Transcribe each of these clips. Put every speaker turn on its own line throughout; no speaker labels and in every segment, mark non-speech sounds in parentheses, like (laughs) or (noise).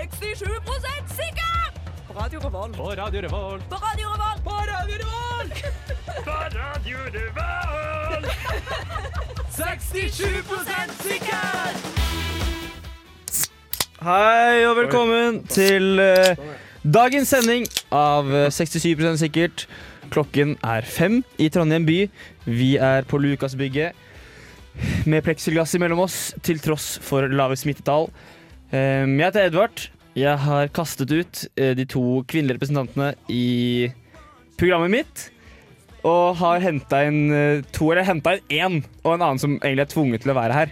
67 sikker! På Radio Revolt.
På Radio Revolt.
På Radio Revolt. På Radio (laughs) Revolt!
67 sikker!
Hei og velkommen til eh, dagens sending av eh, 67 sikkert. Klokken er fem i Trondheim by. Vi er på Lukasbygget med pleksiglass imellom oss, til tross for lave smittetall. Eh, Jeg heter Edvard. Jeg har kastet ut eh, de to kvinnelige representantene i programmet mitt. Og har henta inn eh, to, eller henta inn én, og en annen som egentlig er tvunget til å være her.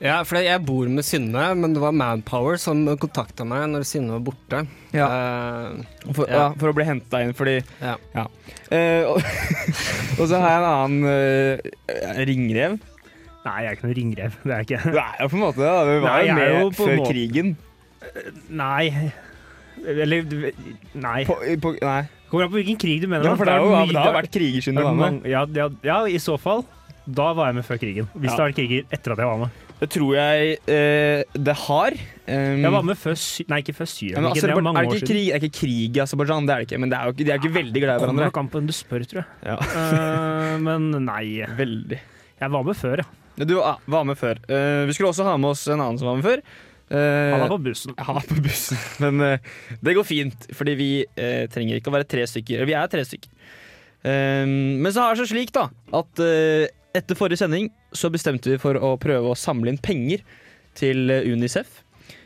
Ja, for jeg bor med Synne, men det var Manpower som kontakta meg når Synne var borte. Eh,
For, ja.
Ja.
for å bli henta inn, fordi
Ja.
Eh, og, (laughs) og så har jeg en annen eh, ringrev.
Nei, jeg er ikke noen ringrev. Det er
(laughs)
jeg ikke.
Du er jo på en måte det. da. Du var
Nei,
jo
jeg
med
er jo på en
før
måte-
krigen.
Nei. Eller Nei.
På, på, nei.
Kommer an på hvilken krig du mener.
Ja,
da.
for det, er jo,
mye-
det har vært kriger
det
siden
har
du var
vært
med.
mange- ja, ja, ja, i så fall. Da var jeg med før krigen. Hvis
Ja.
det har vært kriger etter at jeg var med.
Det tror jeg eh, det har. Um,
Jeg var med før Sy... Nei, ikke før Syria.
Ja, men
men ikke, det
Aserbaj-
er mange
er det
år
ikke
siden.
krig, det er ikke krig i Aserbajdsjan, det er det ikke. Men det er jo ikke, de er jo ikke veldig glad i
Kommer
hverandre.
nok an på hvem du spør, tror jeg.
Ja.
(laughs) Eh, men nei.
Veldig.
Jeg var med før, ja.
Du ah, var med før. Eh, vi skulle også ha med oss en annen som var med før. Eh,
Han var på bussen.
Jeg har på bussen. Men eh, det går fint, fordi vi eh, trenger ikke å være tre stykker. Eller, Vi er tre stykker. Ehm, men så har det seg slik da at eh, etter forrige sending så bestemte vi for å prøve å samle inn penger til eh, Unicef.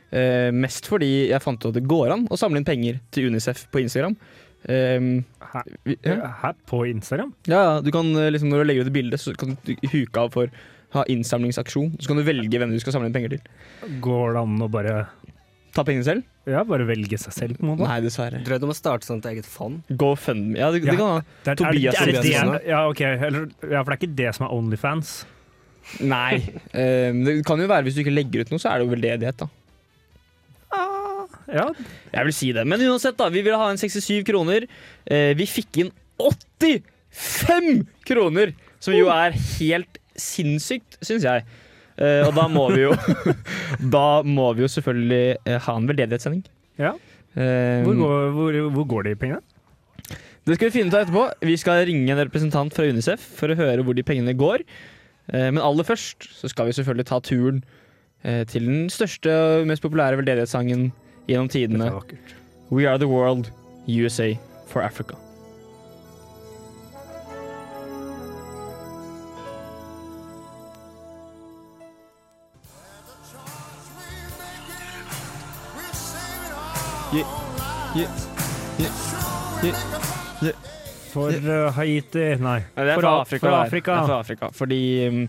Eh, mest fordi jeg fant ut at det går an å samle inn penger til Unicef på Instagram. Ehm,
Her,
vi, ja,
her på Instagram.
ja, du kan eh, liksom Når du legger ut et bilde, så kan du huke av for ha innsamlingsaksjon. Så kan du velge hvem du skal samle inn penger til.
Går det an å bare
Ta pengene selv?
Ja, bare velge seg selv, på en måte?
Nei, dessverre.
Drøy du må starte sånn et eget fond.
GoFundMe. Ja, det,
Ja.
det kan ha.
Det er,
Tobias
er, det- er, det
Tobiasen,
det- ja, ok. Eller, ja, for det er ikke det som er Onlyfans.
(laughs) Nei. Eh, men det kan jo være hvis du ikke legger ut noe, så er det jo veldedighet, da.
Ja,
Jeg vil si det. Men uansett, da. Vi ville ha en 67 kroner. Eh, vi fikk inn 85 kroner! Som jo er helt sinnssykt, syns jeg. Eh, og da må vi (laughs) jo Da må vi jo selvfølgelig eh, ha en veldedighetssending.
Ja.
Eh,
Hvor går, hvor, hvor går de pengene?
Det skal vi finne ut av etterpå. Vi skal ringe en representant fra UNICEF for å høre hvor de pengene går. Eh, Men aller først så skal vi selvfølgelig ta turen eh, til den største og mest populære veldedighetssangen gjennom tidene.
vakkert.
We are the world, USA for Africa.
For eh, Haiti, nei.
Nei, det er
for
fra Afrika. det
A- For
er.
Afrika.
Det er fra Afrika. Fordi um,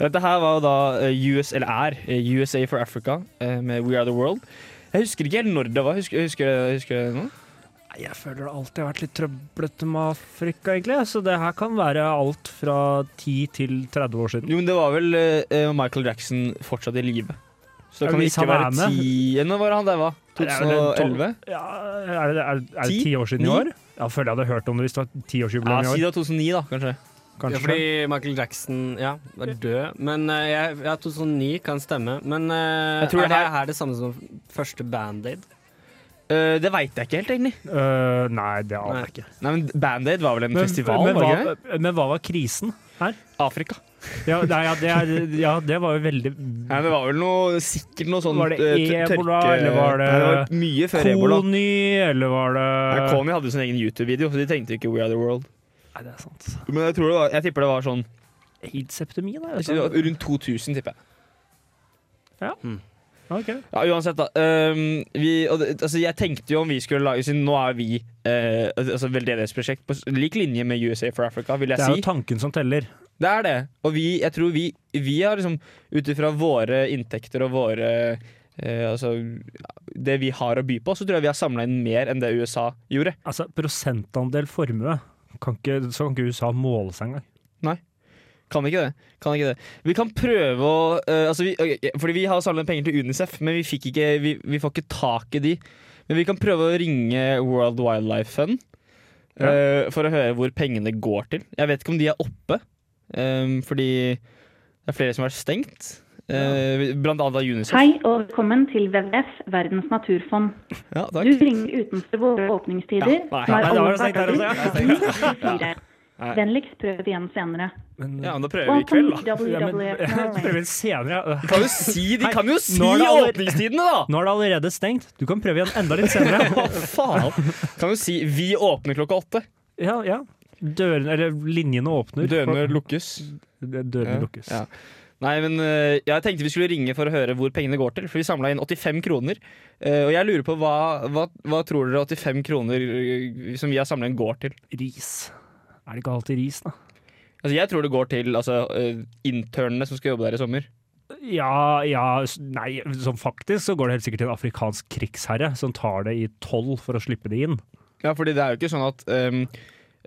dette her var jo da eh, US, eller er eh, USA for Africa eh, med We Are The World. Jeg husker ikke helt når det var. Husker, husker, husker du det nå?
Nei, Jeg føler det alltid har vært litt trøblete med Afrika, egentlig. Så det her kan være alt fra 10 til 30 år siden.
Jo, men det var vel eh, Michael Jackson fortsatt i live. Så
Ja,
da kan det
hvis
ikke
han er
være
med.
ti Når var det han der, var?
Er det vel en tolv-
2011?
Ja, er det, er, er det
Ti?
10 år siden
Ni?
i år? Jeg føler jeg hadde hørt om det hvis det var
Ja,
10-årsjubileum
si
i år.
det var 2009, da, kanskje.
Ja,
Kanskje.
fordi Michael Jackson ja, var død. Men eh, jeg, ja, 2009 kan stemme. Men eh,
Jeg tror
er
det
det
her-
her det samme som første Band-Aid?
Eh, det veit jeg ikke helt, egentlig.
Øh, nei, det aner jeg ikke.
Nei, men Band-Aid var vel en festival?
men,
var det
hva,
ikke det?
men hva var krisen her?
Afrika.
Ja, nei, ja, det, er, ja det var jo veldig
Nei, det var vel noe, sikkert noe sånn
Var det
eh, t-
ebola,
tørke-
eller var det eh?
Nei, det var mye før ebola.
Kony, eller var det
Nei, Kony hadde jo sin egen YouTube-video, så de tenkte jo ikke We Are The World.
Nei, det er sant.
Men jeg, tror det var, jeg tipper det var sånn
Aids-epidemien, da?
jeg tror det var rundt 2000, tipper jeg.
Ok.
Ja, uansett, da. Ehm, vi, og, det- altså, jeg tenkte jo om vi skulle lage Siden nå er vi eh, altså, veldedighetsprosjekt på s- lik linje med USA for Africa, vil jeg
Det er
si.
jo tanken som teller.
Det er det. Og vi, jeg tror vi, vi har liksom Ut ifra våre inntekter og våre eh, Altså det vi har å by på, så tror jeg vi har samla inn mer enn det USA gjorde.
Altså, prosentandel formue kan ikke, Så kan ikke USA måle seg engang.
Kan ikke det. Kan ikke det. Vi kan prøve å eh, altså vi, ok, Fordi vi har samlet inn penger til Unicef, men vi, fikk ikke, vi, vi får ikke tak i de. Men vi kan prøve å ringe World Wildlife Fund
Ja.
eh, for å høre hvor pengene går til. Jeg vet ikke om de er oppe, eh, fordi det er flere som har vært stengt. eh, blant annet av UNICEF.
Hei og velkommen til WWF, Verdens naturfond.
Ja,
Du
takk.
ringer utenfor våre åpningstider,
nei,
som er
nei, det var
alle
det stengt her også, ja.
hverdager. Vennligst prøv igjen senere.
Men, eh,
Ja, men da prøver vi i kveld,
Welcome
da.
to
(laughs) ja, men,
WWF
prøv
Norway.
igjen senere.
Kan jo si, de kan jo si
nå er det aller-
åpningstidene, da!
Nå er det allerede stengt. Du kan prøve igjen enda litt senere.
(laughs) Hva faen? Kan jo si 'vi åpner klokka åtte'.
Ja, ja. Dørene, eller linjene åpner.
Dørene lukkes. Ja,
Dørene lukkes.
ja. Nei, men eh, jeg tenkte vi skulle ringe for å høre hvor pengene går til. For vi samla inn 85 kroner. Eh, og jeg lurer på hva, hva, hva tror dere 85 kroner eh, som vi har samla inn, går til?
Ris. Er det ikke alltid ris, da?
Altså, jeg tror det går til altså, eh, internene som skal jobbe der i sommer.
Ja, ja s- Nei, sånn faktisk så går det helt sikkert til en afrikansk krigsherre som tar det i toll for å slippe det inn.
Ja, fordi det er jo ikke sånn at ehm,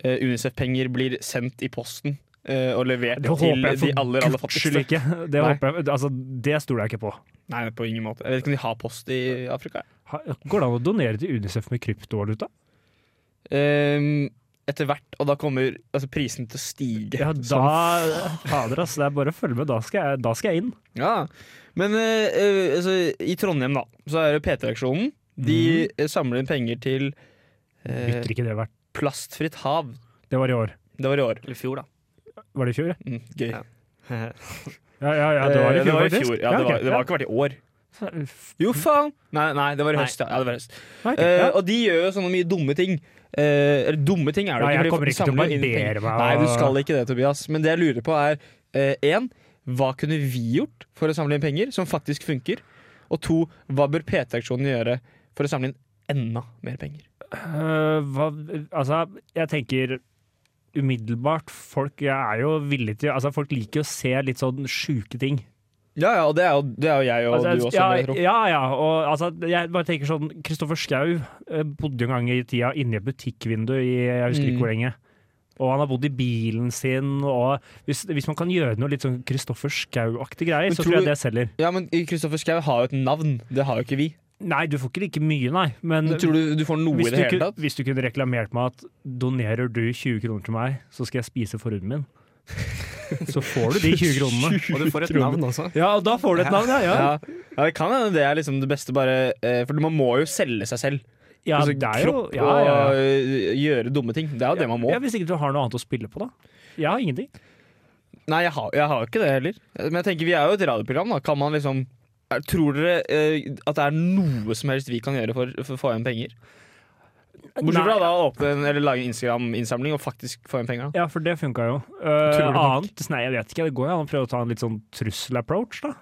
eh, Unicef-penger blir sendt i posten eh, og levert
Det
til
håper jeg
de
for
aller, aller
guds skyld
fattigste.
ikke. Det,
Nei.
håper jeg, altså, det stoler jeg ikke på.
Nei, på ingen måte. Jeg vet ikke om de har post i Afrika. jeg.
Ha- Går det an å donere til Unicef med kryptovaluta?
Ehm, etter hvert, og da kommer altså, prisen til å stige.
Ja, da Fader, ass. Det er bare å følge med. Da skal jeg, da skal jeg inn.
Ja, men eh, eh, altså, i Trondheim da, så er det PT-aksjonen. De
Mhm.
eh, samler inn penger til eh,
Bytter ikke det hvert
Plastfritt hav.
Det var i år.
Det var i år.
Eller i fjor, da.
Var det i fjor? ja?
Mm, gøy.
Ja.
Ja, ja, ja det var i
Eh,
fjor,
i
faktisk.
fjor. Ja, det,
ok,
var, det var ikke vært i år.
ja.
Jo, faen! Nei, nei det var i
Nei.
høst. Ja, ja det var i høst.
Nei, ok,
Eh,
(laughs) ja.
og de gjør jo sånne mye dumme ting. Eh, eller dumme ting er det
Nei, jeg
fordi
kommer
de
ikke til å
samler inn
barbere
penger.
meg, og-
Nei, du skal ikke det, Tobias. Men det jeg lurer på er én hva kunne vi gjort for å samle inn penger som faktisk funker? Og to, hva bør PT-aksjonen gjøre for å samle inn enda mer penger?
Øh, hva, altså, jeg tenker umiddelbart Folk jeg er jo villig til altså, Folk liker jo å se litt sånn sjuke ting.
Ja, ja, og det er jo, det er jo jeg og
Altså,
du også.
ja,
vil jeg tro.
ja, ja. Og altså, jeg bare tenker sånn Kristoffer Schau eh, bodde jo en gang i tida inni et butikkvindu i jeg husker
Mm.
ikke hvor lenge. Og han har bodd i bilen sin, og hvis, hvis man kan gjøre noe litt sånn Kristoffer Schau-aktig greier,
Men
så
tror
tror jeg
du-
det selger.
ja, men Kristoffer Schau har jo et navn. Det har jo ikke vi.
Nei, du får ikke like mye, nei, men
Men tror du du får noe i
hvis, du
det hele
kunne,
tatt?
hvis du kunne reklamert meg at donerer du 20 kroner til meg, så skal jeg spise forhuden
(laughs)
min. Så får du de 20 kronene.
Og du får et navn også.
Ja, og da får du et navn, ja.
Ja, ja det kan hende det er liksom det beste, bare eh, For man må jo selge seg selv.
Ja,
altså,
det er jo,
kropp
ja, ja,
og
ja.
eh, gjøre dumme ting. Det er jo det man må.
Ja, hvis ikke du har noe annet å spille på, da. Jeg har ingenting.
Nei, jeg har, jeg har ikke det heller. Men jeg tenker vi er jo et radioprogram, da. Kan man liksom er- Tror dere eh, at det er noe som helst vi kan gjøre for, for å få igjen penger? Bortsett fra
Nei.
da å åpne en- eller lage en Instagram-innsamling og faktisk få igjen penga.
Ja, for det funka jo. Eh,
Utrolig nok.
annet Nei, jeg vet ikke. Det går jo an å prøve å ta en litt sånn trussel-approach, da.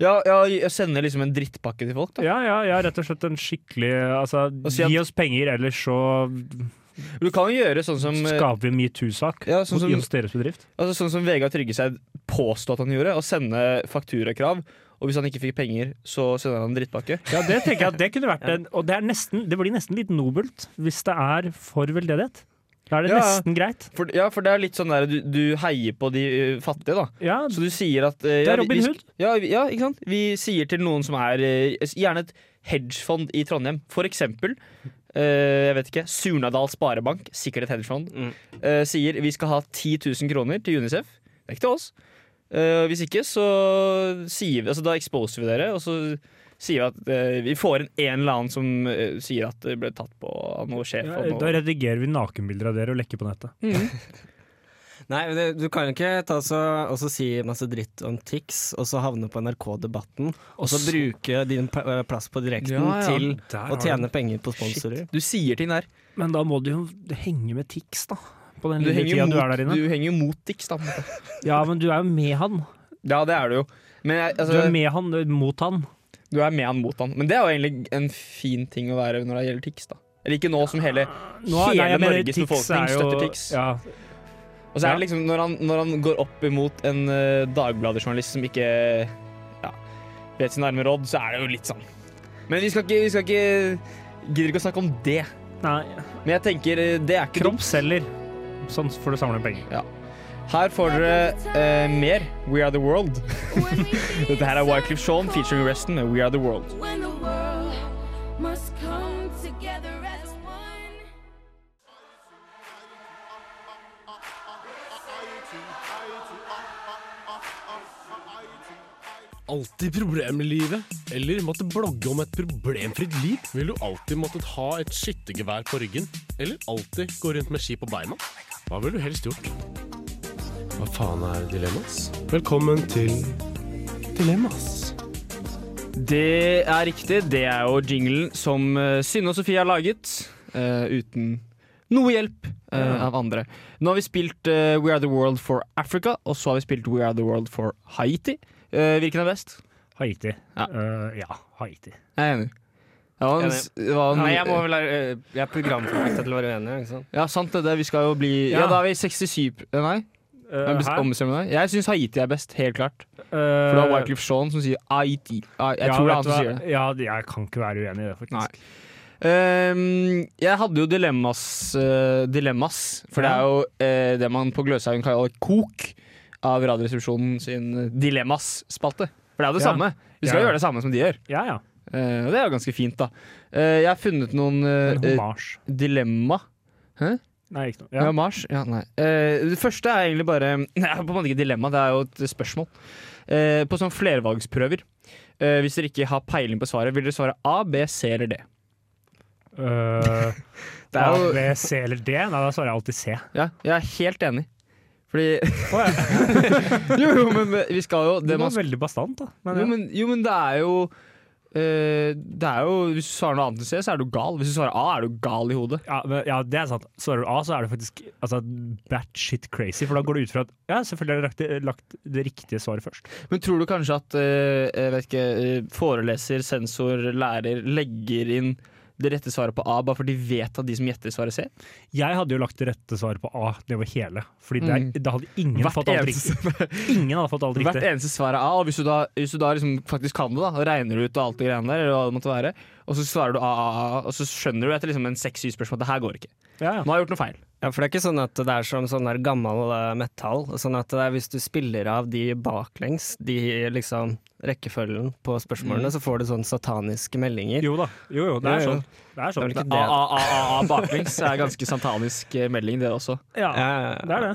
Ja, ja, sende liksom en drittpakke til folk, da.
Ja, ja, ja, rett og slett en skikkelig Altså,
si at-
gi oss penger, ellers så
Du kan jo gjøre sånn som eh,
skaper vi en metoo-sak
Ja, sånn som-
hos deres bedrift.
Altså Sånn som Vegard Tryggeseid påstod at han gjorde, å sende fakturakrav. Og hvis han ikke fikk penger, så sender han en drittpakke.
Ja, det tenker jeg at det kunne vært en Og det, er nesten, det blir nesten litt nobelt hvis det er for veldedighet. Da er det
Ja.
nesten greit.
For, ja, for det er litt sånn der du, du heier på de ø, fattige, da.
Ja,
Så du sier at eh,
Det er
ja, vi-
Robin
vi-
Hood.
Ja, vi- ja, ikke sant? Vi sier til noen som er eh, gjerne et hedgefond i Trondheim, for eksempel. eh, jeg vet ikke, Surnadal Sparebank, sikkert et hedgefond,
Mm.
eh, sier vi skal ha 10 000 kroner til Unicef. Det er ikke til oss. Eh, hvis ikke, så sier vi altså, Da exposer vi dere, og så sier vi at eh, vi får inn en eller annen som eh, sier at det ble tatt på av noe sjef.
ja,
og noe.
da redigerer vi nakenbilder av dere og lekker på nettet.
Nei, men det- du kan jo ikke ta så, og så si masse dritt om Tix, og så havne på NRK-debatten, og så bruke din pl- eh, plass på direkten
Ja, ja.
til
Der har
å tjene penger på sponsorer.
Du sier ting der.
Men da må du jo henge med Tix, da. På den
Du
lille
henger
tida
jo
du er
mot,
der inne.
du henger jo mot Dix, da.
Ja, men du er jo med han.
Ja, det er du jo. Men jeg,
Du
altså,
er med han eh, mot han.
Du er med han mot han. Men det er jo egentlig en fin ting å være når det gjelder TIX. da. Eller ikke nå som hele,
Nå er-
hele
nei, jeg mener,
Norges
Tix
befolkning
er jo-
støtter TIX.
Ja,
Og så er det liksom når han, når han går opp imot en uh, Dagbladet-journalist som ikke ja, vet sin arme råd, så er det jo litt sånn. Men vi skal ikke, vi skal ikke Gidder ikke å snakke om det.
nei,
Men jeg tenker eh, det er ikke dumt.
kropp selger. Sånn får du samle penger.
Her får dere eh, mer We Are The World. Dette her er Wyclef Shaun featuring Resten med We Are The World.
When the world must come together as one.
alltid problemer i livet? Eller måtte blogge om et problemfritt liv? Vil du alltid måttet ha et skyttergevær på ryggen? Eller alltid gå rundt med ski på beina? Hva ville du helst gjort? Hva faen er dilemmas? Velkommen til Dilemmas.
Det er riktig. Det er jo jinglen som eh, Synne og Sofie har laget. eh, uten noe hjelp eh, av andre. Nå har vi spilt eh, We Are The World for Africa, og så har vi spilt We Are The World for Haiti. Eh, hvilken er best?
Haiti.
Ja.
Eh, ja, Haiti.
Jeg er enig. Det var en,
Enig.
det var en,
Nei, jeg må vel være Sånn, eh, Jeg er programforpliktet til å være uenig, ikke sant?
Ja, sant det. det vi skal jo bli
Ja.
Ja, da er vi 67 Nei,
Eh,
jeg
her,
ombestemmer meg. Jeg syns Haiti er best, helt klart. For det
eh,
er Wycliffe Shaun som sier Haiti. Ah, Jeg
ja,
tror det er
vet
han som
du hva?
sier det.
Ja, jeg kan ikke være uenig i det, faktisk.
Nei. Ehm, jeg hadde jo dilemmas, eh, dilemmas for det er jo eh, det man på Gløshaugen kaller kok av Radioresepsjonen sin Dilemmas-spalte. For det er jo det
Ja.
samme. Vi skal
Ja.
gjøre det samme som de gjør.
Ja, ja.
Eh, og det er jo ganske fint, da. Eh, jeg har funnet noen eh,
En
eh,
hommage.
dilemma.
Nei, ikke noe.
Ja.
Ja.
Mars? Ja, nei. Eh, det første er egentlig bare (laughs) Det er på en måte ikke et dilemma, det er jo et spørsmål. Eh, på sånne flervalgsprøver. eh, hvis dere ikke har peiling på svaret, vil dere svare A, B, C eller D?
Eh,
(laughs) Det er
A,
jo-
B, C eller D? Nei, da svarer jeg alltid C.
Ja, jeg er helt enig. Fordi (laughs) Jo, jo, men vi skal jo
Det
det man
var veldig bastant, da. Men,
jo,
ja.
men, jo, men det er jo eh, Det er jo Hvis du svarer noe annet enn C, så er du gal. Hvis du svarer A, er du gal i hodet.
Ja, men, ja, det er sant. Svarer du A, så er det faktisk altså, batshit crazy. For da går det ut fra at ja, selvfølgelig har jeg lagt det, lagt det riktige svaret først.
Men tror du kanskje at eh, jeg vet ikke, eh, foreleser, sensor, lærer legger inn det rette svaret på A bare fordi de vet at de som gjetter, svarer C?
Jeg hadde jo lagt det rette svaret på A, det var hele. Fordi det, er- da hadde ingen
Hvert
fått alt
eneste-
riktig. Ingen hadde fått alt
Hvert
riktig.
eneste svar er A, og hvis du da, hvis du da liksom faktisk kan det, da, og regner ut og alt det greiene der, eller hva det måtte være, og så svarer du A, A, A, og så skjønner du etter liksom en seks-syv spørsmål at det her går ikke.
Ja, ja.
Nå har jeg gjort noe feil.
Ja, for det er ikke sånn at det er som sånn der gammel eh, metall. Sånn at det er hvis du spiller av de baklengs, de liksom rekkefølgen på spørsmålene, så får du sånne sataniske meldinger.
Jo da. Jo, jo, det er
Jo, jo.
sånn. Det er
Det er
sånn.
vel ikke
A,
det.
A, A, A, A baklengs er ganske santanisk eh, melding, det også.
Ja,
Ja, ja, ja.
det er det.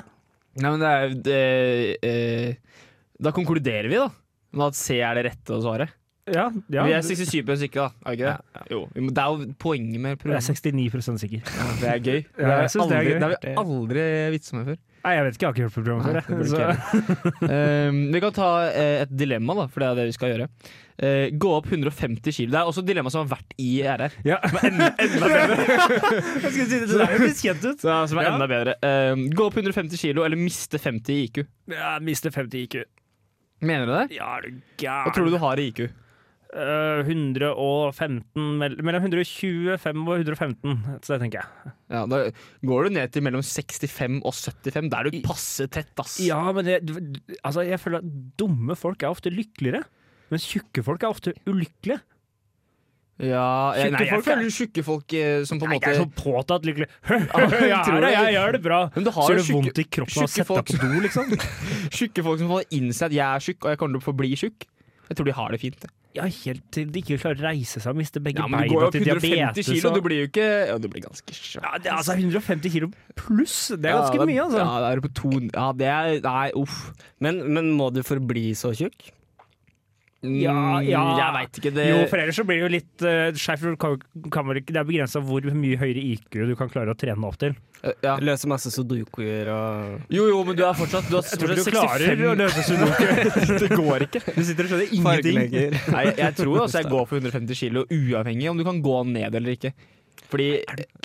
Nei, men det er det, eh, Da konkluderer vi, da. Med at C er det rette å svare.
Ja, ja.
Vi er 67 på sikre, da. Er vi ikke det? Jo. Vi må- Det er jo poenget med
Jeg er
programmet.
69 sikker.
Det er gøy.
Ja, jeg synes det er
aldri,
gøy.
har vi aldri vitsa med før.
Nei, jeg vet ikke, jeg har ikke hørt programmet før.
Nei, det
jeg.
burde
Så-
ikke (laughs) Um, vi kan ta eh, et dilemma, da, for det er det vi skal gjøre. Eh, gå opp 150 kilo. Det er også et dilemma som har vært i RR.
(laughs) Ja. (laughs) jeg skulle si det, det der høres kjent ut.
Så, som er
Ja.
enda bedre. Um, gå opp 150 kilo eller miste 50 i IQ.
Jeg mister 50 IQ.
Mener du det?
Ja, er du
Hva tror du du har i IQ?
Eh, 115 mell- Mellom 125 og 115, så det tenker jeg.
Ja, da går du ned til mellom 65 og 75. Da er du passe tett, ass.
Ja, men det, altså, jeg føler at dumme folk er ofte lykkeligere. Mens tjukke folk er ofte ulykkelige.
Ja, jeg, nei,
Tjukke
jeg
folk er-
føler tjukke folk eh, som på en
Nei, jeg
måte
er så påtatt lykkelig. (laughs) jeg,
Tror
er
du
det,
det?
jeg gjør det bra.
Men du
Så
har
gjør
jo
det
tjukke,
vondt i kroppen å
tjukke
sette deg på do,
(laughs)
liksom.
tjukke folk som får innse at jeg er tjukk, og jeg kommer til å forbli tjukk. Jeg tror de har det fint. jeg.
Ja, helt til de ikke klarer å reise seg og miste begge
Ja, men du går jo
beina
opp
til
150
diabetes.
kilo,
og-
du blir jo ikke Ja, du blir ganske svær.
Ja, det er altså 150 kilo pluss! Det er ganske
Ja,
mye, altså.
Ja, det er på to Ja, det er Nei, uff.
Men, men må du forbli så tjukk?
Ja, ja.
Mm, Jeg veit ikke. Det
Jo, for ellers så blir det jo litt uh, skjevt. for du kan jo- kan vel ikke- Det er begrensa hvor mye høyere IQ du kan klare å trene opp til.
ja.
Løse masse sudokuer og
jo, jo, men du er fortsatt Du, er
Jeg tror ikke du
fortsatt
klarer å
65
(laughs) løse sudoku.
Det går ikke. Du sitter og skjønner
fargelegger?
(laughs) Nei, jeg tror
(laughs)
altså jeg går for 150 kilo, uavhengig om du kan gå ned eller ikke. Fordi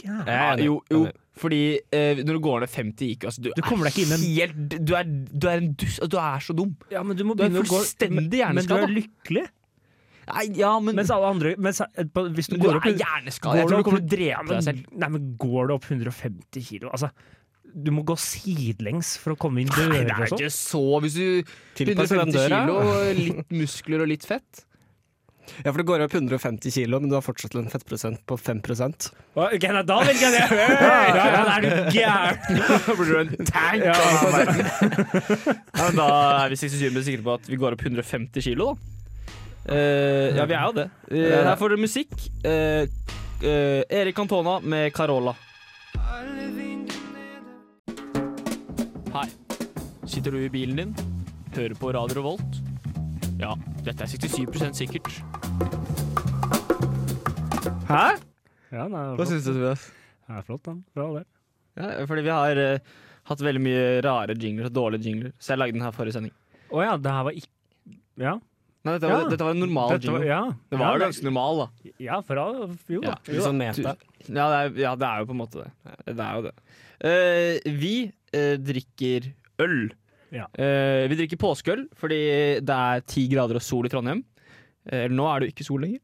ja, Jo, jo. Fordi eh, når du går ned 50 IQ altså, du,
Du kommer deg ikke inn i
helt du er, du er en dust. Altså, du er så dum.
(laughs) Ja, men du må
Du er
begynne å gå
fullstendig
Men du
hjerneskada.
er lykkelig.
Nei, ja, men,
Mens alle andre mens, eh, på- Hvis du
du
går
er
opp i-
hjerneskada. Jeg
går
tror du
opp-
kommer til å
Ja,
drepe deg selv.
men, nei, men går du opp 150 kilo? Altså, du må gå sidelengs for å komme inn
Nei, det
dører og
er
sånn.
ikke så Hvis du
Tilpasser den
150
døra.
kilo, litt muskler og litt fett
Ja, for det går opp 150 kilo, men du har fortsatt en fettprosent på 5 Ja,
Å, Ok, nei, da velger jeg det! Hey, (laughs) ja, ja, da er du (laughs) gæren!
(laughs) Da blir du en tank!
Ja,
av verden. ja, men da er vi 67 sikre på at vi går opp 150 kilo, da. Eh, ja, vi er jo det. Eh, her får dere musikk. Eh, eh, Erik Cantona med Carola. Hei. Sitter du i bilen din? Hører på Radio Revolt? Ja, Dette er 67 sikkert. Hæ?
Ja, den er
Hva
flott,
syns du, Tobias?
den er flott den. Bra, det.
Ja, fordi vi har eh, hatt veldig mye rare jingler og dårlige jingler, så jeg lagde den her forrige sending.
Å ja, det her var ikke Ja.
Nei, dette var,
Ja.
dette var en normal
dette var,
jingle.
ja.
Det var jo
ja,
ganske normal, da.
det. Ja, fra Jo da.
Ja.
Litt sånn meta.
Ja det, er, ja, det er jo på en måte det. Det er jo det. Eh, vi eh, drikker øl.
Ja.
Eh, vi drikker påskeøl fordi det er ti grader og sol i Trondheim. Eh, Eller nå er det jo ikke sol lenger.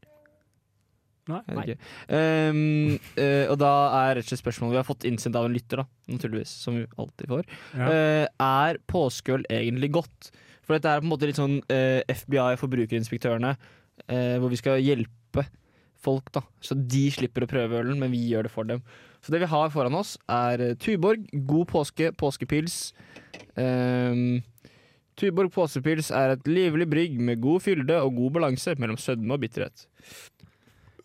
Nei.
Jeg vet ikke. Ehm, eh, og da er rett og slett spørsmålet vi har fått innsendt av en lytter, da, naturligvis, som vi alltid får.
Ja.
Eh, er påskeøl egentlig godt? For dette er på en måte litt sånn eh, FBI, forbrukerinspektørene, eh, hvor vi skal hjelpe folk, da. Så de slipper å prøve ølen, men vi gjør det for dem. Så det vi har foran oss, er eh, Tuborg, God påske, påskepils. Ehm, Tuborg påskepils er et livlig brygg med god fylde og god balanse mellom sødme og bitterhet.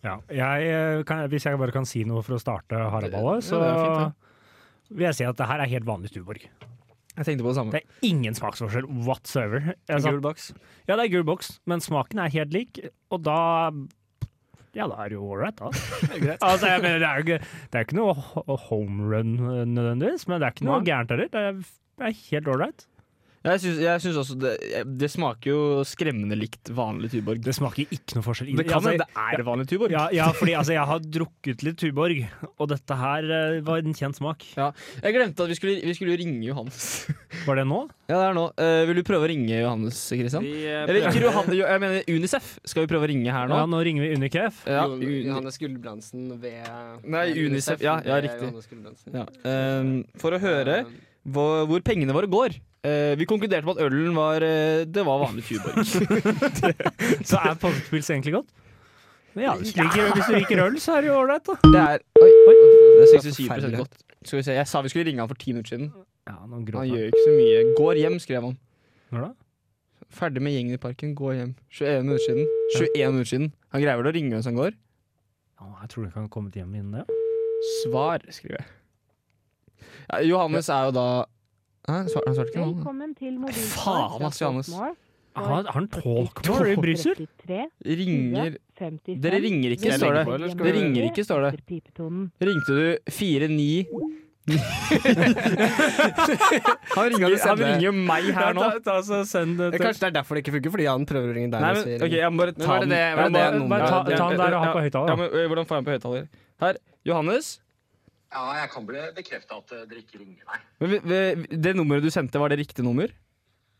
Ja. Jeg, eh, kan, hvis jeg bare kan si noe for å starte haraballet,
Det-
så
ja, det er fint,
vil jeg si at det her er helt vanlig Tuborg.
Jeg tenkte på det samme.
Det er ingen smaksforskjell whatsoever. Jeg sa-
Gul boks.
ja, det er gul boks, men smaken er helt lik, og da ja, da er det jo ålreit,
(laughs)
da. altså, jeg mener, det er jo ikke, det er ikke noe ho- home run eh, nødvendigvis, men det er ikke noe
Nei.
gærent heller. Det er, det er helt ålreit.
Jeg syns, jeg syns også det, det smaker jo skremmende likt vanlig Tuborg.
Det smaker ikke noe forskjell.
Det kan
Altså,
hende det er vanlig Tuborg.
Ja, ja fordi altså, jeg har drukket litt Tuborg, og dette her eh, var en kjent smak.
Jeg glemte at vi skulle, vi skulle ringe Johannes.
Var det nå?
(laughs) Ja, det er nå. Eh, vil du prøve å ringe Johannes, Kristian?
eh,
Eller ikke Johannes, jo, jeg mener Unicef. Skal vi prøve å ringe her nå?
Ja, nå ringer vi Unicef.
Ja, Uni-
Johannes Gulbrandsen ved
Nei, ved Unicef, ja, ja, ved riktig. ja. ehm, for å høre hvor, hvor pengene våre går. Eh, vi konkluderte med at ølen var eh, Det var vanlig Tuborg.
Så er påskepils egentlig godt? Men ja, hvis du liker, hvis du liker øl, så er det jo ålreit, da.
Det er Oi, oi. Det er 67
Forferdelig.
godt. Skal vi se, Jeg sa vi skulle ringe han for ti minutter siden.
Ja, noen
Han
gråter.
gjør ikke så mye. Går hjem, skrev han.
Når da?
Ferdig med gjengen i parken, går hjem. 21 minutter siden. 21 minutter siden. Han greier vel å ringe mens han går?
Ja, jeg tror du ikke han har kommet hjem innen det.
Svar, skriver jeg. Ja, Johannes er jo da Hæ, svar- han svarte ikke noe.
Velkommen til
Faen, ass, Johannes.
Har har han tolkmål i Brussel?
Ringer Dere ringer ikke,
Skal jeg
står det.
legge på, eller skal
Det
vi-
ringer ikke, står det. Ringte du 49 Han ringer, han ringer jo meg her nå.
send det
Det er Kanskje det er derfor det ikke funker, fordi han prøver å ringe deg.
Nei,
og
men,
sier-
ok, jeg må bare ta
var det
den.
det-
Jeg
var det
må
det
bare-
nummeret?
Ta, ta han der og ha på
Ja,
høyttaler. da.
men ø, Hvordan får jeg den på høyttaler? Her. Johannes.
Ja, jeg kan bli bekrefte at eh, dere ikke ringer meg.
Men vi- vi- Det nummeret du sendte, var det riktig nummer?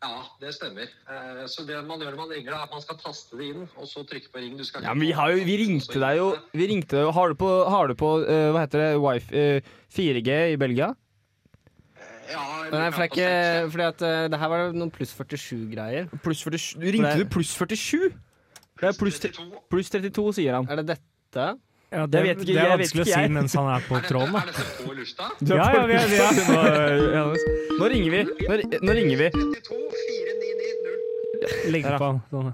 Ja, det stemmer. Eh, Så det man gjør når man ringer, er at man skal taste det inn, og så trykke på ring. Du skal
Ja, men vi, har jo, vi ringte deg jo Vi ringte deg jo Har du på, har du på eh, hva heter det, wifi, eh, 4G i Belgia?
Ja, eller
Nei, for det er ikke Fordi at eh, det her var noen pluss 47-greier.
Pluss 47 Du Ringte
Nei.
du pluss 47? Det er pluss,
32.
pluss 32, sier han.
Er det dette?
Ja, det,
Jeg vet ikke,
det er
jeg vet
vanskelig å
ikke,
si
jeg.
mens han er på
Er
(laughs)
tråden. da.
dette, er dette på lufta?
Ja, ja, vi er, vi er.
Nå ringer vi. Nå, ri- nå ringer vi.
32 4990.
Legg på han. Sånn.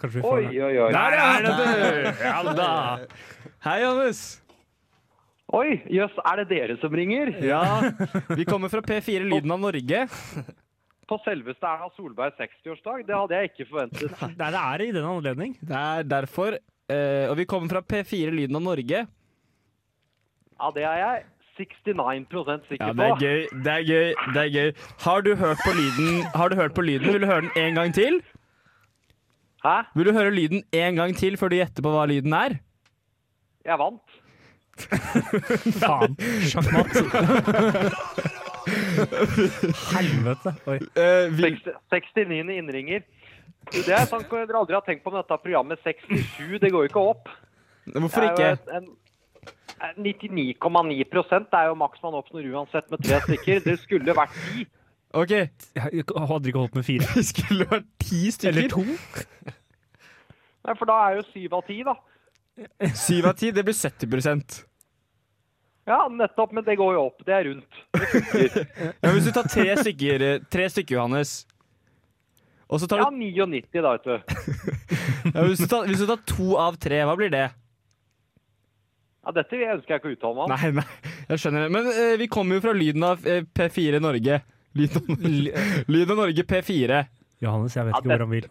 Kanskje vi får det.
Oi, oi.
Der er det, du! Ja da.
Hei, Johannes.
Oi, jøss, er det dere som ringer?
Ja, vi kommer fra P4 Lyden av Norge.
(laughs) På selveste Erna Solberg 60-årsdag? Det hadde jeg ikke forventet.
Nei, det er i den
(laughs)
anledning.
Det er derfor. eh, og vi kommer fra P4 Lyden av Norge.
Ja, det er jeg 69 sikker
Ja,
på.
det er gøy. Det er gøy. det er gøy Har du hørt på lyden? Har du hørt på lyden? Vil du høre den en gang til?
Hæ?
Vil du høre lyden en gang til før du gjetter på hva lyden er?
Jeg vant.
Faen.
(laughs)
Sjakkmatt. Helvete. Oi.
vi,
60 69 innringer. Du, Det er sant, jeg aldri har tenkt på med dette programmet 67, det går jo ikke
(laughs)
opp.
hvorfor
Det
ikke?
er jo et- en- 99,9 det er jo maks man oppnår uansett med tre stykker. Det skulle vært ti.
Ok, (laughs)
Jeg hadde ikke holdt med fire.
det skulle vært ti stykker.
Eller to.
Nei, For da er jo syv av ti, da.
Syv av ti, det blir 70
Ja, nettopp, men det går jo opp. Det er rundt.
ja, Hvis du tar tre stykker, eh, tre stykker Johannes og så tar
Ja,
du,
99 da, vet du.
ja, hvis, du tar, hvis du tar to av tre, hva blir det?
Ja, dette ønsker jeg ikke å uttale meg om.
Nei, nei, jeg skjønner det. Men eh, vi kommer jo fra lyden av eh, P4 (laughs) Norge. Lyden av, lyden av Norge P4.
Johannes, jeg vet
Ja,
ikke hvor han vil.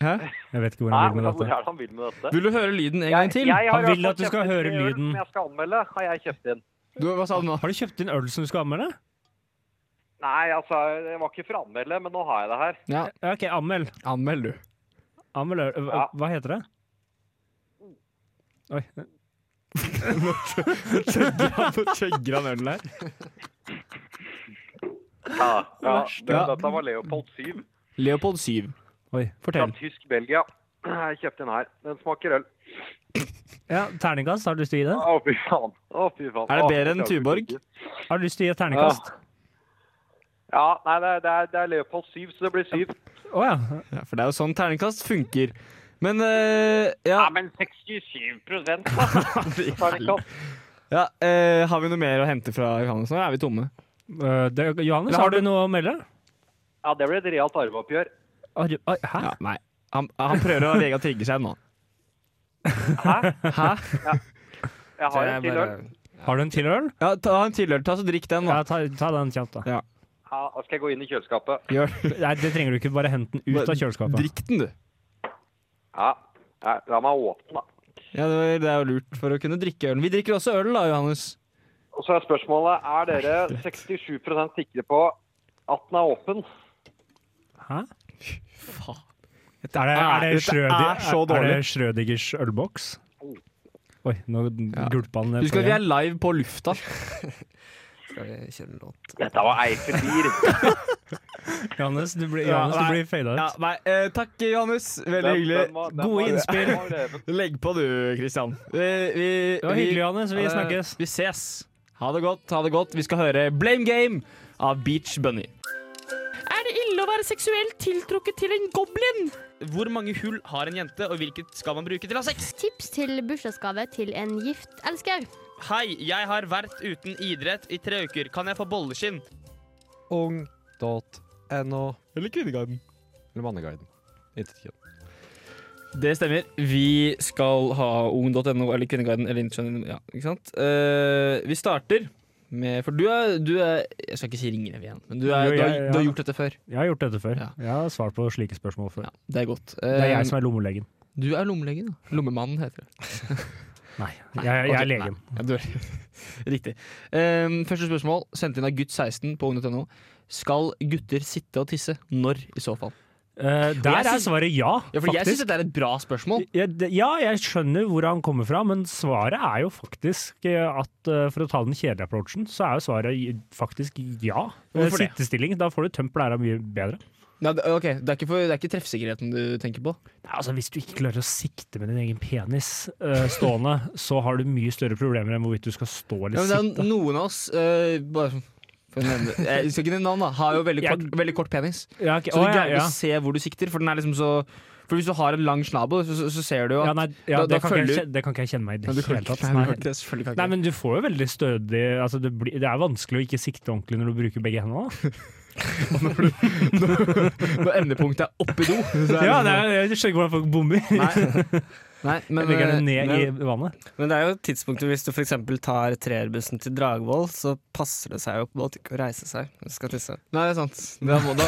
Hæ?
Jeg vet ikke hvor
Nei,
han vil
men
med
hvor er
dette.
det han vil med dette?
Vil du høre lyden en gang
Jeg,
til?
jeg har
(laughs) Han
i
vil
hvert
at du
fall
skal
kjøpt en
høre
ny øl
lyden.
Som jeg skal anmelde, har jeg kjøpt inn.
Du, hva sa du nå?
Har du kjøpt inn øl som du skal anmelde?
Nei, altså, det var ikke for å anmelde, men nå har jeg det her.
Ja,
Ja, OK, anmeld.
anmeld, du.
Anmeld øl. Hva-
Ja.
Hva heter det? Oi.
Nå skjegger han ølen her.
(laughs) Ja, ja, det,
Ja.
Dette var Leopold 7
Leopold 7.
Oi,
fra
fortell.
Tysk-Belgia. (clears throat) Jeg kjøpte den her. Den smaker øl.
Ja, Terningkast, har du lyst til å gi det?
Å, fy faen. Å, fy faen.
Er det
Å,
bedre enn
jeg klarer
Tuborg?
ikke.
Har du lyst til å gi et terningkast?
Ja, nei, det er, det er, det er Leopold 7, så det blir
(laughs)
7.
Å ja.
Ja, for det er jo sånn terningkast funker. Men eh, ja,
Ja, men 67 prosent,
(laughs)
da. Så er det ikke alt.
ja eh, Har vi noe mer å hente fra Johannes nå? Er vi tomme?
Eh, Det, Johannes,
Eller har
har du
du-
noe å melde?
Ja, det blir et realt arveoppgjør.
Ar ar hæ?
Ja, nei. Han, han prøver å Vegard trigge seg
(laughs)
nå.
Hæ?
Hæ?
Jeg har en til øl.
Har du en til øl?
Ja, ta en tilhørt, ta så drikk den,
Ja,
da.
ta, ta den kjapt, da.
Ja, da skal jeg gå inn i kjøleskapet.
Gjør (laughs) det.
Nei, det trenger du ikke. Bare hent den ut av kjøleskapet.
Drikk den, du.
Ja, ja la meg åpne, da.
Ja, det, var- det er jo lurt for å kunne drikke ølen. Vi drikker også øl, da, Johannes.
Og så er spørsmålet, er dere 67 sikre på at den er åpen?
Hæ? Er det, er det,
Dette
Schrødi-
er så
er
dårlig.
det Schrødingers ølboks? Oi, nå gulpa han ned
Husk
på
at vi er
igjen.
live på lufta.
Skal vi kjøre en låt?
Dette var Eiffel bier.
Johannes, du blir,
Ja,
Johannes, du
nei.
blir fada
Ja,
ut.
nei, eh, takk, Johannes. Veldig hyggelig.
Gode (laughs) innspill.
Legg på, du, Kristian. Vi, Eh, vi,
Det var hyggelig, Johannes. Vi
Eh,
snakkes.
Vi ses. Ha det godt. ha det godt. Vi skal høre Blame Game av Beach Bunny. Er det ille å være seksuelt tiltrukket til en goblin? Hvor mange hull har en jente, og hvilket skal man bruke til å ha sex?
Tips til bursdagsgave til en gift elsker.
Hei, jeg har vært uten idrett i tre uker. Kan jeg få bolleskinn?
Ung.no.
Eller Kvinneguiden.
Eller Manneguiden. Intet kjønn.
Det stemmer. Vi skal ha ung.no eller Kvinneguiden eller Internett. Ja, ikke sant? Eh, vi starter med For du er, du er Jeg skal ikke si ringrev igjen, men du, er,
Jo,
du, har,
jeg-
du har
ja.
gjort dette før.
Jeg har gjort dette før.
Ja.
Jeg har svart på slike spørsmål før.
Ja, det er godt. Ehm,
Det er jeg som er lommelegen.
Du er lommelegen. da. Lommemannen heter det.
Nei, jeg, jeg
Ok,
er legen.
nei. Ja, du er. (laughs) Riktig. Ehm, første spørsmål, sendt inn av gutt16 på ung.no. Skal gutter sitte og tisse? Når, i så fall?
Eh,
jeg
der er
syns-
svaret ja,
Ja, for jeg syns
faktisk.
dette er et bra spørsmål.
Ja, det- ja, jeg skjønner hvor han kommer fra, men svaret er jo faktisk eh, at eh, for å ta den kjedelige approachen, så er jo svaret i- faktisk ja. Eh,
Hvorfor det?
Sittestilling, da får du tømt blæra mye bedre.
Nei, det, ok, det er, ikke for, det er ikke treffsikkerheten du tenker på?
Nei, Altså, hvis du ikke klarer å sikte med din egen penis eh, stående, (laughs) så har du mye større problemer enn hvorvidt du skal stå
Ja,
eller
men det er
sitte.
jo noen av oss eh, bare, for å nevne, det. Jeg skal ikke nevne navn, da. Har jo veldig
Jeg-
kort, veldig kort penis.
Ja, ok.
Så du
Å, ja,
greier
ja.
ikke å se hvor du sikter, for den er liksom så For hvis du har en lang snabel, så, så, så ser du jo
Ja,
at
nei,
Da-
ja,
da
det, kan ikke jeg,
følger-
kjen- det kan ikke jeg kjenne meg i
Nei, du
det
kan
hele
ikke-
tatt.
nei, du kan
Nei.
ikke det, selvfølgelig kan ikke
Nei,
det.
men du får jo veldig stødig altså det, blir, det er vanskelig å ikke sikte ordentlig når du bruker begge hendene. da.
Når endepunktet er oppi do. så er
Ja,
det sånn-
det er, Jeg skjønner ikke hvordan folk bommer.
Nei. Nei,
(laughs)
men,
Legger det
eh,
ned i
men-
vannet.
Men det er jo tidspunktet hvis du f.eks. tar treerbussen til Dragvoll, så passer det seg jo på en måte ikke å reise seg når du skal tisse.
Nei, det er sant. Da må, da,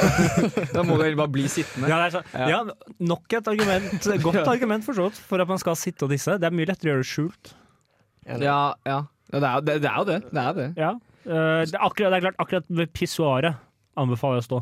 (laughs) da må du egentlig bare bli sittende.
Ja, det er sånn. ja, Nok et argument,
(laughs)
godt argument for så vidt, for at man skal sitte og disse. Det er mye lettere å gjøre det skjult.
Ja, ja. Ja, det, er, jo- det, det er jo det. det, er det.
Ja. Eh, det, er akkurat, det er klart, akkurat ved pissoaret anbefaler jeg å stå.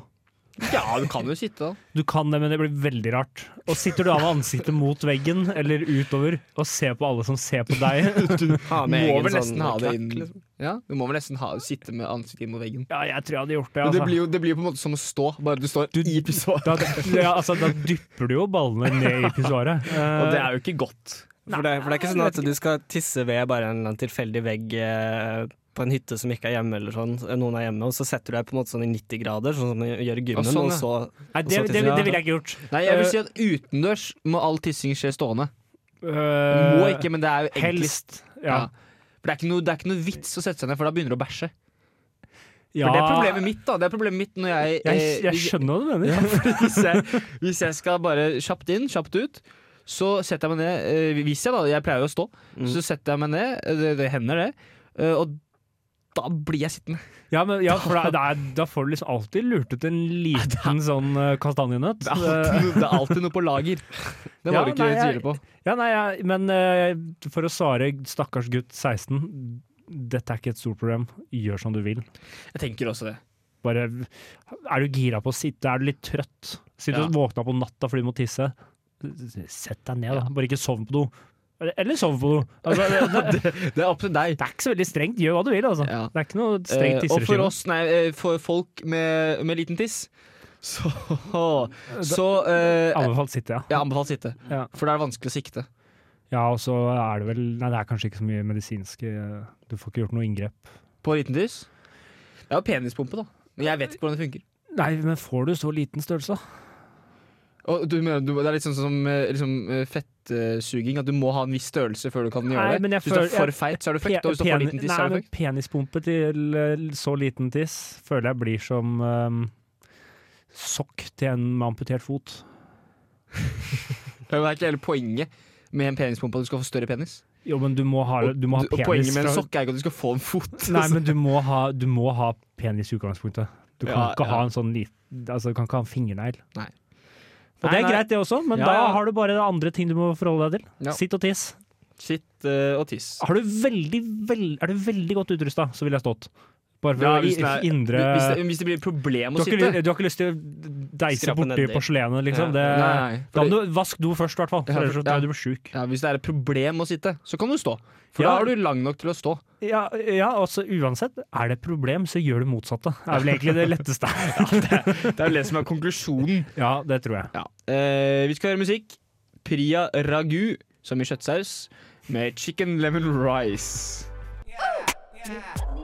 Ja, du kan jo sitte, da.
Du kan det, men det blir veldig rart. Og sitter du av med ansiktet mot veggen eller utover og ser på alle som ser på deg (laughs)
Ha
Du må
egen
vel nesten
sånn
ha det
klakk,
inn
liksom.
Ja, du må vel nesten ha, sitte med ansiktet inn mot veggen.
Ja, jeg tror jeg hadde gjort
Men
det.
det
Altså.
blir jo, det blir jo på en måte som å stå, bare du står i pissoar.
Da, ja, altså, da dypper du jo ballene ned i pissoaret. Eh,
(laughs) Og det er jo ikke godt.
For det, for det er ikke sånn at du skal tisse ved bare en eller annen tilfeldig vegg eh, på en hytte som ikke er hjemme, eller sånn. Noen er hjemme, og så setter du deg på en måte sånn i 90 grader, sånn som du gjør i
Ja,
gymmen,
sånn,
og så
Eh, Nei, det, det, det ville jeg ikke gjort.
Nei, jeg vil si at utendørs må all tissing skje stående.
Eh,
Må ikke, men det er jo enklest.
Helst. Ja.
For det er, ikke noe, det er ikke noe vits å sette seg ned, for da begynner du å bæsje.
ja.
For det er problemet mitt, da. Det er problemet mitt når jeg,
Jeg,
eh,
jeg skjønner hva du mener.
(laughs) Fordi hvis, jeg, hvis jeg skal bare kjapt inn, kjapt ut, så setter jeg meg Mm. ned eh, Hvis jeg, da. Jeg pleier jo å stå. Så setter jeg meg ned, eh, det, det hender det. eh, og da blir jeg sittende.
Ja, men, ja, for da, da, er- da får du liksom alltid lurt ut en liten sånn eh, kastanjenøtt.
(laughs)
Eh,
Det er alltid, noe- det er alltid noe på lager. Det
Ja,
må du ikke
nei, jeg-
tvile på.
Ja, nei, jeg- men eh, for å svare stakkars gutt 16, dette er ikke et stort problem. Gjør som du vil.
Jeg tenker også det.
Bare, er du gira på å sitte? Er du litt trøtt? Sitter
Ja.
og våkner på natta fordi du må tisse? Sett deg ned, da. Bare ikke sovn på do. Eller- Eller sovn på do. Altså, det, det,
det er opp til deg.
Det er ikke så veldig strengt. Gjør hva du vil, altså. Det er ikke noe strengt
Eh, og for
tisseregime.
oss, nei, eh, for folk med, med liten tiss, (laughs) så, så eh,
Anbefalt sitte, ja.
Ja, anbefalt sitte.
Ja.
For da er det vanskelig å sikte.
Ja, og så er det vel Nei, det er kanskje ikke så mye medisinske Du får ikke gjort noe inngrep.
På liten tiss? Det er jo penispumpe, da. Men jeg vet ikke hvordan det funker.
Nei, men får du så liten størrelse, da?
Og du mener, du, det er litt sånn som eh, liksom, eh, fettsuging, at du må ha en viss størrelse før du kan gjøre det. Hvis du er for feit, så er du fucked. Og hvis du er for liten tiss, så er du
Nei, men
fucked.
penispumpe til eh, så liten tiss føler jeg blir som eh, sokk til en med amputert fot.
Ja, men Det er ikke hele poenget med en penispumpe at du skal få større penis.
Jo, men du må ha, du må ha
Og
penis
poenget med en
fra-
sokk er ikke at du skal få en fot.
(laughs) Nei, men du må ha, du må ha penis i utgangspunktet. Du kan
Ja,
ikke
ja.
ha en sånn liten Altså, du kan ikke ha en fingernegl.
Nei.
Og
Nei,
det er
nei.
greit, det også, men
Ja,
da
ja.
har du bare andre ting du må forholde deg til.
Ja.
Sitt og tiss.
Sitt eh, og tiss.
Har du veldig, veld, er du veldig godt utrusta, så ville jeg stått. Bare for
Ja,
å
hvis, den er-
i- indre
hvis, det, hvis det blir et problem
du
å
har, ikke,
sitte.
ly- du har ikke lyst til å deise
Skrape
borti
nedi.
porselenet, liksom.
Ja.
Det,
Nei, nei,
da
fordi-
må du vaske do først, i hvert fall.
Ja,
For ellers så
for-
tror
ja.
jeg du blir sjuk.
Ja, hvis det er et problem å sitte, så kan du stå. For
Ja.
da er du lang nok til å stå.
Ja, ja, altså uansett. Er det et problem, så gjør du motsatte. Det er vel egentlig det
(laughs)
letteste.
Det er vel det som er konklusjonen.
ja, det tror jeg.
Eh, vi skal høre musikk. Priya Ragu, som i kjøttsaus, med chicken lemon rice.
Oh,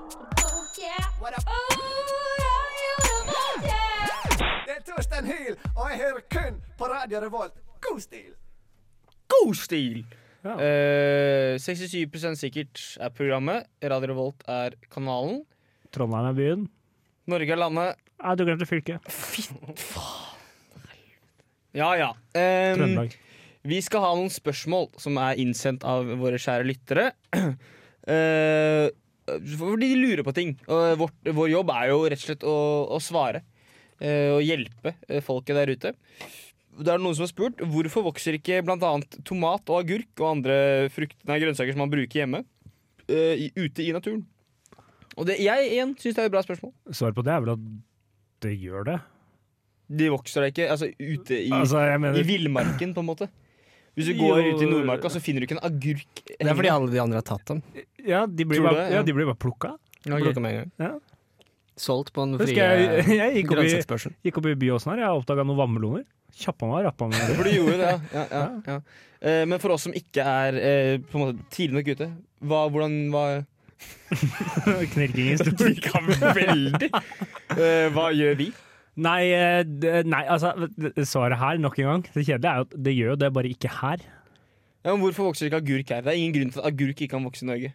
Det er Torstein Hyl, og jeg hører kun på Radio Revolt. God stil!
God stil! Eh, 67 sikkert er programmet. Radio Revolt er kanalen.
Trondheim er byen.
Norge er landet.
Nei, du glemte fylket.
Ja, ja. Em,
Trøndelag.
Vi skal ha noen spørsmål som er innsendt av våre kjære lyttere. (clears throat) Eh, fordi de lurer på ting. Og eh, vårt, vår jobb er jo rett og slett å, å svare. eh, og hjelpe eh, folket der ute. Det er noen som har spurt hvorfor vokser ikke bl.a. tomat og agurk og andre frukt, nei, grønnsaker som man bruker hjemme, eh, i, ute i naturen? Og det, jeg igjen syns det er et bra spørsmål.
Svaret på det er vel at det gjør det.
De vokser da ikke altså, ute i,
Altså, jeg mener-
i villmarken, på en måte. Hvis du
Jo.
går ut i Nordmarka, så finner du ikke en agurk.
Det er fordi alle de andre har tatt dem.
Ja, de
blir bare- ja, de
blir bare plukka.
ok.
Plukket med en gang.
Ja.
Solgt på den
Husker
frie
jeg, (laughs) jeg gikk opp i,
grønnsaksspørselen.
gikk opp i Byåsen her, jeg oppdaga noen vannmeloner. Kjappa meg og rappa
(laughs)
meg.
For du gjorde det, ja.
(laughs)
ja, ja, ja. Eh, men for oss som ikke er eh, på en måte tidlig nok ute, hva, hvordan hva,
(laughs) Knirking i stolen.
Veldig! Eh, hva gjør vi?
Nei, eh, det- nei, altså Svaret her, nok en gang, det kjedelige er jo at det gjør jo det, bare ikke her.
Ja, men hvorfor vokser ikke agurk her? Det er ingen grunn til at agurk ikke kan vokse i Norge.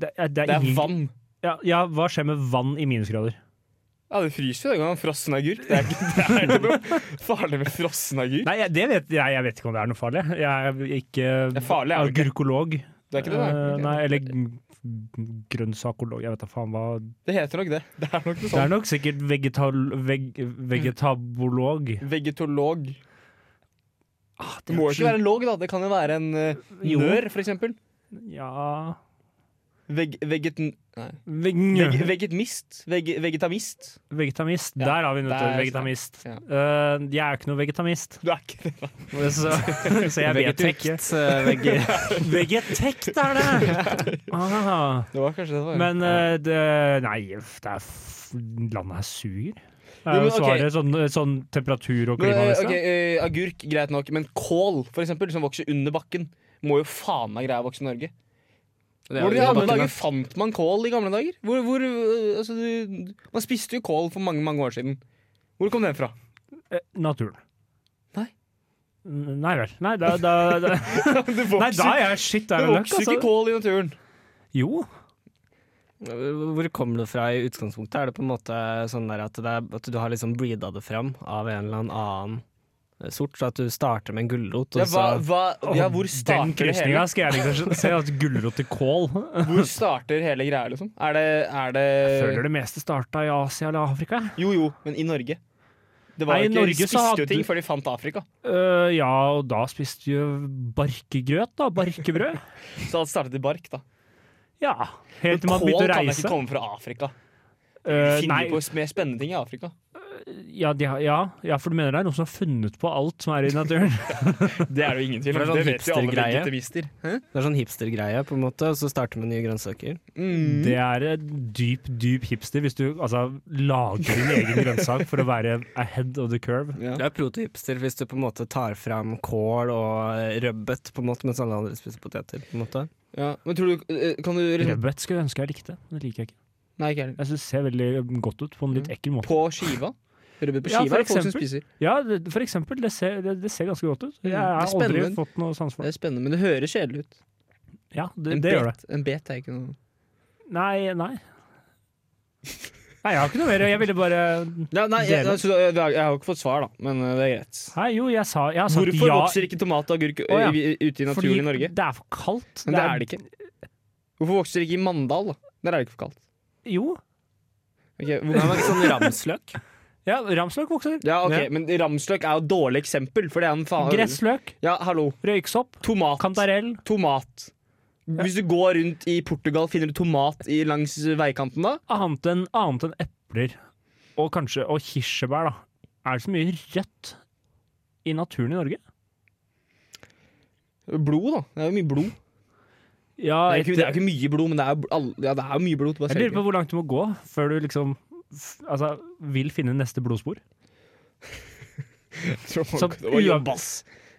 Det er,
Det er
ingen-
vann.
Ja, ja, hva skjer med vann i minusgrader?
Ja, det fryser jo. Det kan være frossen agurk. Det er ikke, (laughs) det er ikke noe farlig med frossen agurk.
Nei, jeg- det vet, jeg, jeg vet ikke om det er noe farlig. Jeg er ikke
Det er farlig, er det
agurkolog.
Det er ikke det, nei.
Eh,
Ok.
Nei, eller g- grønnsakolog. Jeg vet da faen hva
Det heter nok det. Det er nok noe
Det er
sånt.
nok sikkert vegetal, veg, vegetabolog.
Vegetolog. det må jo ikke være en log, da. Det kan jo være en uh,
Jo.
nør, for eksempel.
Ja
Veg, veget... Nei.
Veg,
Veg, vegetmist. Veg, vegetamist.
Vegetamist.
Ja,
Der har vi nødt
der-
til vegetamist.
ja.
Eh, jeg er ikke noe vegetamist. (laughs)
Du er ikke (laughs) det.
Så, så jeg vet jo ikke.
Vegetekt, eh, vege-
Vegetekt er det!
(laughs)
Ah.
Det var kanskje det det var.
Men eh, det, nei, det er f landet her suger. Det
Jo,
er
men
jo
ok.
svaret sånn, sånn temperatur og liksom.
Men, eh,
klimamessig.
ok, eh, agurk, greit nok, men kål for eksempel, som vokser under bakken, må jo faen meg greie å vokse i Norge.
er
Hvor
jo
i gamle
bakken, da.
dager fant man kål i gamle dager? Hvor, hvor, eh, altså, du, man spiste jo kål for mange mange år siden. Hvor kom den fra?
Eh, Naturen.
Nei.
N- Nei vel. Nei, da, da,
(laughs)
da.
Det
Nei, da er jeg shit. Det er vel nok,
vokser ikke
altså.
kål i naturen.
Jo.
Hvor kommer det fra i utgangspunktet? Er det på en måte sånn der at, det er, at du har liksom breeda det fram av en eller annen sort, så at du starter med en gulrot. og
Ja, hva,
så-
hva, ja, hvor
Åh,
starter det hele? Eh.
krysningen skal jeg liksom se, at gulrot til
(laughs)
kål.
Hvor starter hele greia, liksom? Er det, er det
Jeg føler det meste starta i Asia eller Afrika.
Jo jo, men i Norge. Det var
Nei, i
jo ikke,
Norge
de
så
spiste
hadde-
jo ting før de fant Afrika.
Øh, ja, og da spiste vi jo barkegrøt, da. Barkebrød.
Så det startet i bark, da.
Ja. Helt til
Men
man begynte
Kål
å
kan da ikke
reise.
komme fra Afrika. De
Øh,
finner
nei.
jo på mer spennende ting i
(laughs)
Afrika.
Ja, de har, ja, ja, for du mener det er noen som har funnet på alt som er i
(laughs)
naturen?
Det er det jo ingen tvil
For
om.
det er sånn
Det vet jo alle
hipstergreie.
vegetarister.
Det er sånn hipstergreie, på en måte, og så starter med nye grønnsaker.
Mm.
Det er en dyp, dyp hipster hvis du altså, lager din egen grønnsak for å være ahead of the curve.
Du er protohipster hvis du på en måte tar fram kål og rødbet, på en måte, mens alle andre spiser poteter. på en måte.
Ja, men tror du, eh, kan du liksom,
Rødbet skulle jeg ønske jeg likte, men det liker jeg ikke.
Nei, ikke heller.
Jeg synes det ser veldig mm, godt ut på en litt ekkel måte.
Mm. På skiva? Rødbet på
Ja,
skiva
for
er det folk som
eksempel.
spiser.
Ja, det, for eksempel. Det ser, det, det ser ganske godt ut. Jeg
Mm,
har
det er
aldri
spennende.
fått noe sans for
Det
det.
er spennende, men det høres kjedelig ut.
Ja, det,
en,
det gjør det.
bet, en bet er ikke noe
Nei, nei. Nei, jeg har ikke noe mer. Jeg ville bare
ja, Nei, jeg,
Dele.
altså, jeg, har- jeg har ikke fått svar, da, men eh, det er greit.
Nei, jo, jeg sa jeg har sagt
Hvorfor
Altså, ja.
vokser ikke tomat og agurk
Å, ja.
i- i- ute i naturen
Fordi
i Norge?
Det er for kaldt.
Men det er det ikke. Hvorfor vokser det ikke i Mandal? da? Der er det ikke for kaldt.
Jo.
Ok,
Det
hvorfor-
var ikke sånn ramsløk.
Ja, ramsløk vokser.
(laughs) ja, ok,
Ja.
Men Ramsløk er jo et dårlig eksempel, for det er en faen
Gressløk,
Ja, hallo.
røyksopp,
Tomat.
kantarell.
Tomat. Hvis du går rundt i Portugal, finner du tomat i, langs veikanten da?
Annet enn, annet enn epler og kanskje og kirsebær, da. Er det så mye rødt i naturen i Norge?
Blod, da. Det er jo mye blod.
Ja,
Det er ikke,
et-
det er ikke mye blod, men det er, jo bl- all- ja, det (laughs) er jo mye blod. Du bare
Jeg
ser
lurer
ikke.
på hvor langt du må gå før du liksom f- altså, vil finne neste blodspor.
Tror man-
Så
det var jobb,
uav-
ass.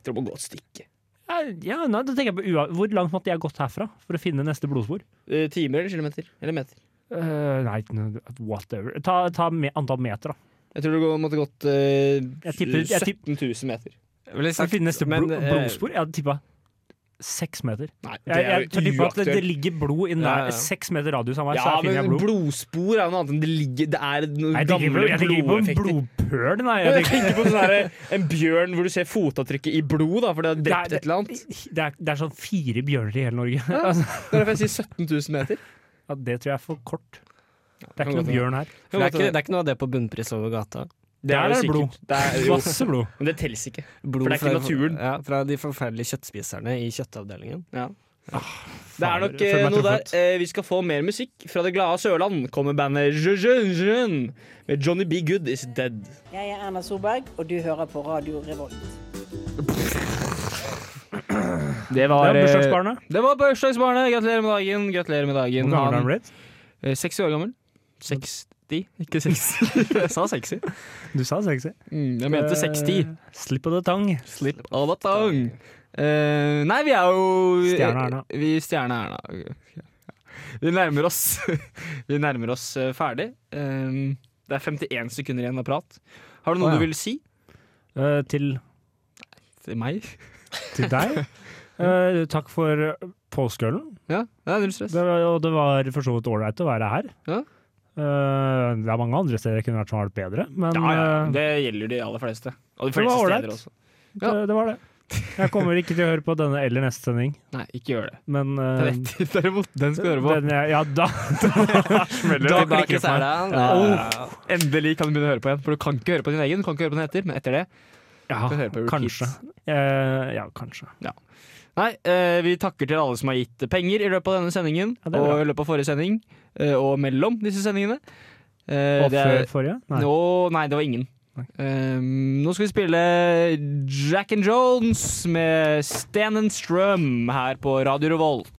Tror man går et stykke.
Ja, ja nei, da tenker jeg på ua Hvor langt måtte jeg gått herfra for å finne neste blodspor?
Eh, Timer eller kilometer? Eller meter?
Eh, nei, n- whatever. Ta, ta me antall meter, da.
Jeg tror det går- måtte gått eh,
Jeg tipper- jeg
17 000 meter.
For å finne neste
men,
blo
eh,
blodspor? Jeg hadde tippa seks meter.
Nei, det
Jeg,
er
jeg tør
jo
tippe at det, det
uaktuelt.
ligger blod i nær
Ja, ja.
seks meter radius av meg, så
Ja,
her finner jeg
men
blod.
blodspor er jo noe annet enn det ligger Det er noen
Nei, jeg
gamle
tenker på- jeg tenker ikke på en
blodeffekter.
blodpøl, nei.
Jeg
Jeg tenker,
tenker på sånn her, en bjørn hvor du ser fotavtrykket i blod, da, for det har drept
Det er-
et eller annet.
(laughs) det, er, det er sånn fire bjørner i hele Norge. Altså,
Det er derfor jeg sier 17 000 meter.
(laughs) ja, det tror jeg er for kort. Det er
kan
ikke
godt
noen bjørn her.
For det, er ikke, det er ikke noe av det på bunnpris over gata.
Det
Der
jo
er det blod.
sikkert. Det er, jo,
Masse blod.
men det telles ikke.
Blod
det er ikke naturen.
Ja, fra de forferdelige kjøttspiserne i kjøttavdelingen.
Ja. Det er nok
Føler
eh,
meg
noe der.
truffet.
Eh, vi skal få mer musikk. Fra det glade Sørland kommer bandet Je, Je, Je, med Johnny B. Good Is Dead.
Jeg er Erna Solberg, og du hører på Radio Revolt.
Det
Det
var
er bursdagsbarnet.
Det var bursdagsbarnet. Gratulerer med dagen. Gratulerer med dagen.
Hvor gammel er
Han-
han blitt?
Eh, 60 år gammel. 60, ikke 60. Jeg sa 60.
Du sa sexy.
Mm, jeg mente 60.
Slipp of the tongue.
Slip of the tongue. Eh, nei, vi er jo
Stjerne-Erna.
Vi Stjerne-Erna. Vi nærmer oss (laughs) Vi nærmer oss eh, ferdig. Eh, det er 51 sekunder igjen av prat. Har du noe
Å, ja.
du vil si
Eh, til,
til meg?
til
(laughs)
deg. Eh, takk for eh, påskeølen.
Ja, det er null stress.
Det, var- og det var for så vidt ålreit å være her.
Ja.
Eh, det er mange andre steder jeg kunne vært som har vært bedre, men
Ja, ja,
eh,
det gjelder de aller fleste. Og de
Det var
fleste
ålreit.
steder også.
det, det var det. Jeg kommer ikke til å høre på denne eller neste sending,
Nei, ikke gjør (laughs) det.
men eh,
Rett derimot, den skal du høre på.
den jeg,
(laughs)
Ja, da
Da
smeller
klikker det for meg.
Særen.
Ja. Endelig kan du begynne å høre på igjen, for du kan ikke høre på din egen. Du kan ikke høre på den etter, men etter det
Ja,
kan du høre på repeat.
kanskje. Eh, ja, kanskje.
Nei, eh, vi takker til alle som har gitt penger i løpet av denne sendingen,
Ja, det er bra.
og i løpet av forrige sending, eh, og mellom disse sendingene. Eh,
Og
det er-
før forrige? Nei.
Nå, nei, det var ingen. Eh, nå skal vi spille Jack and Jones med Stan and Strum her på Radio Revolt.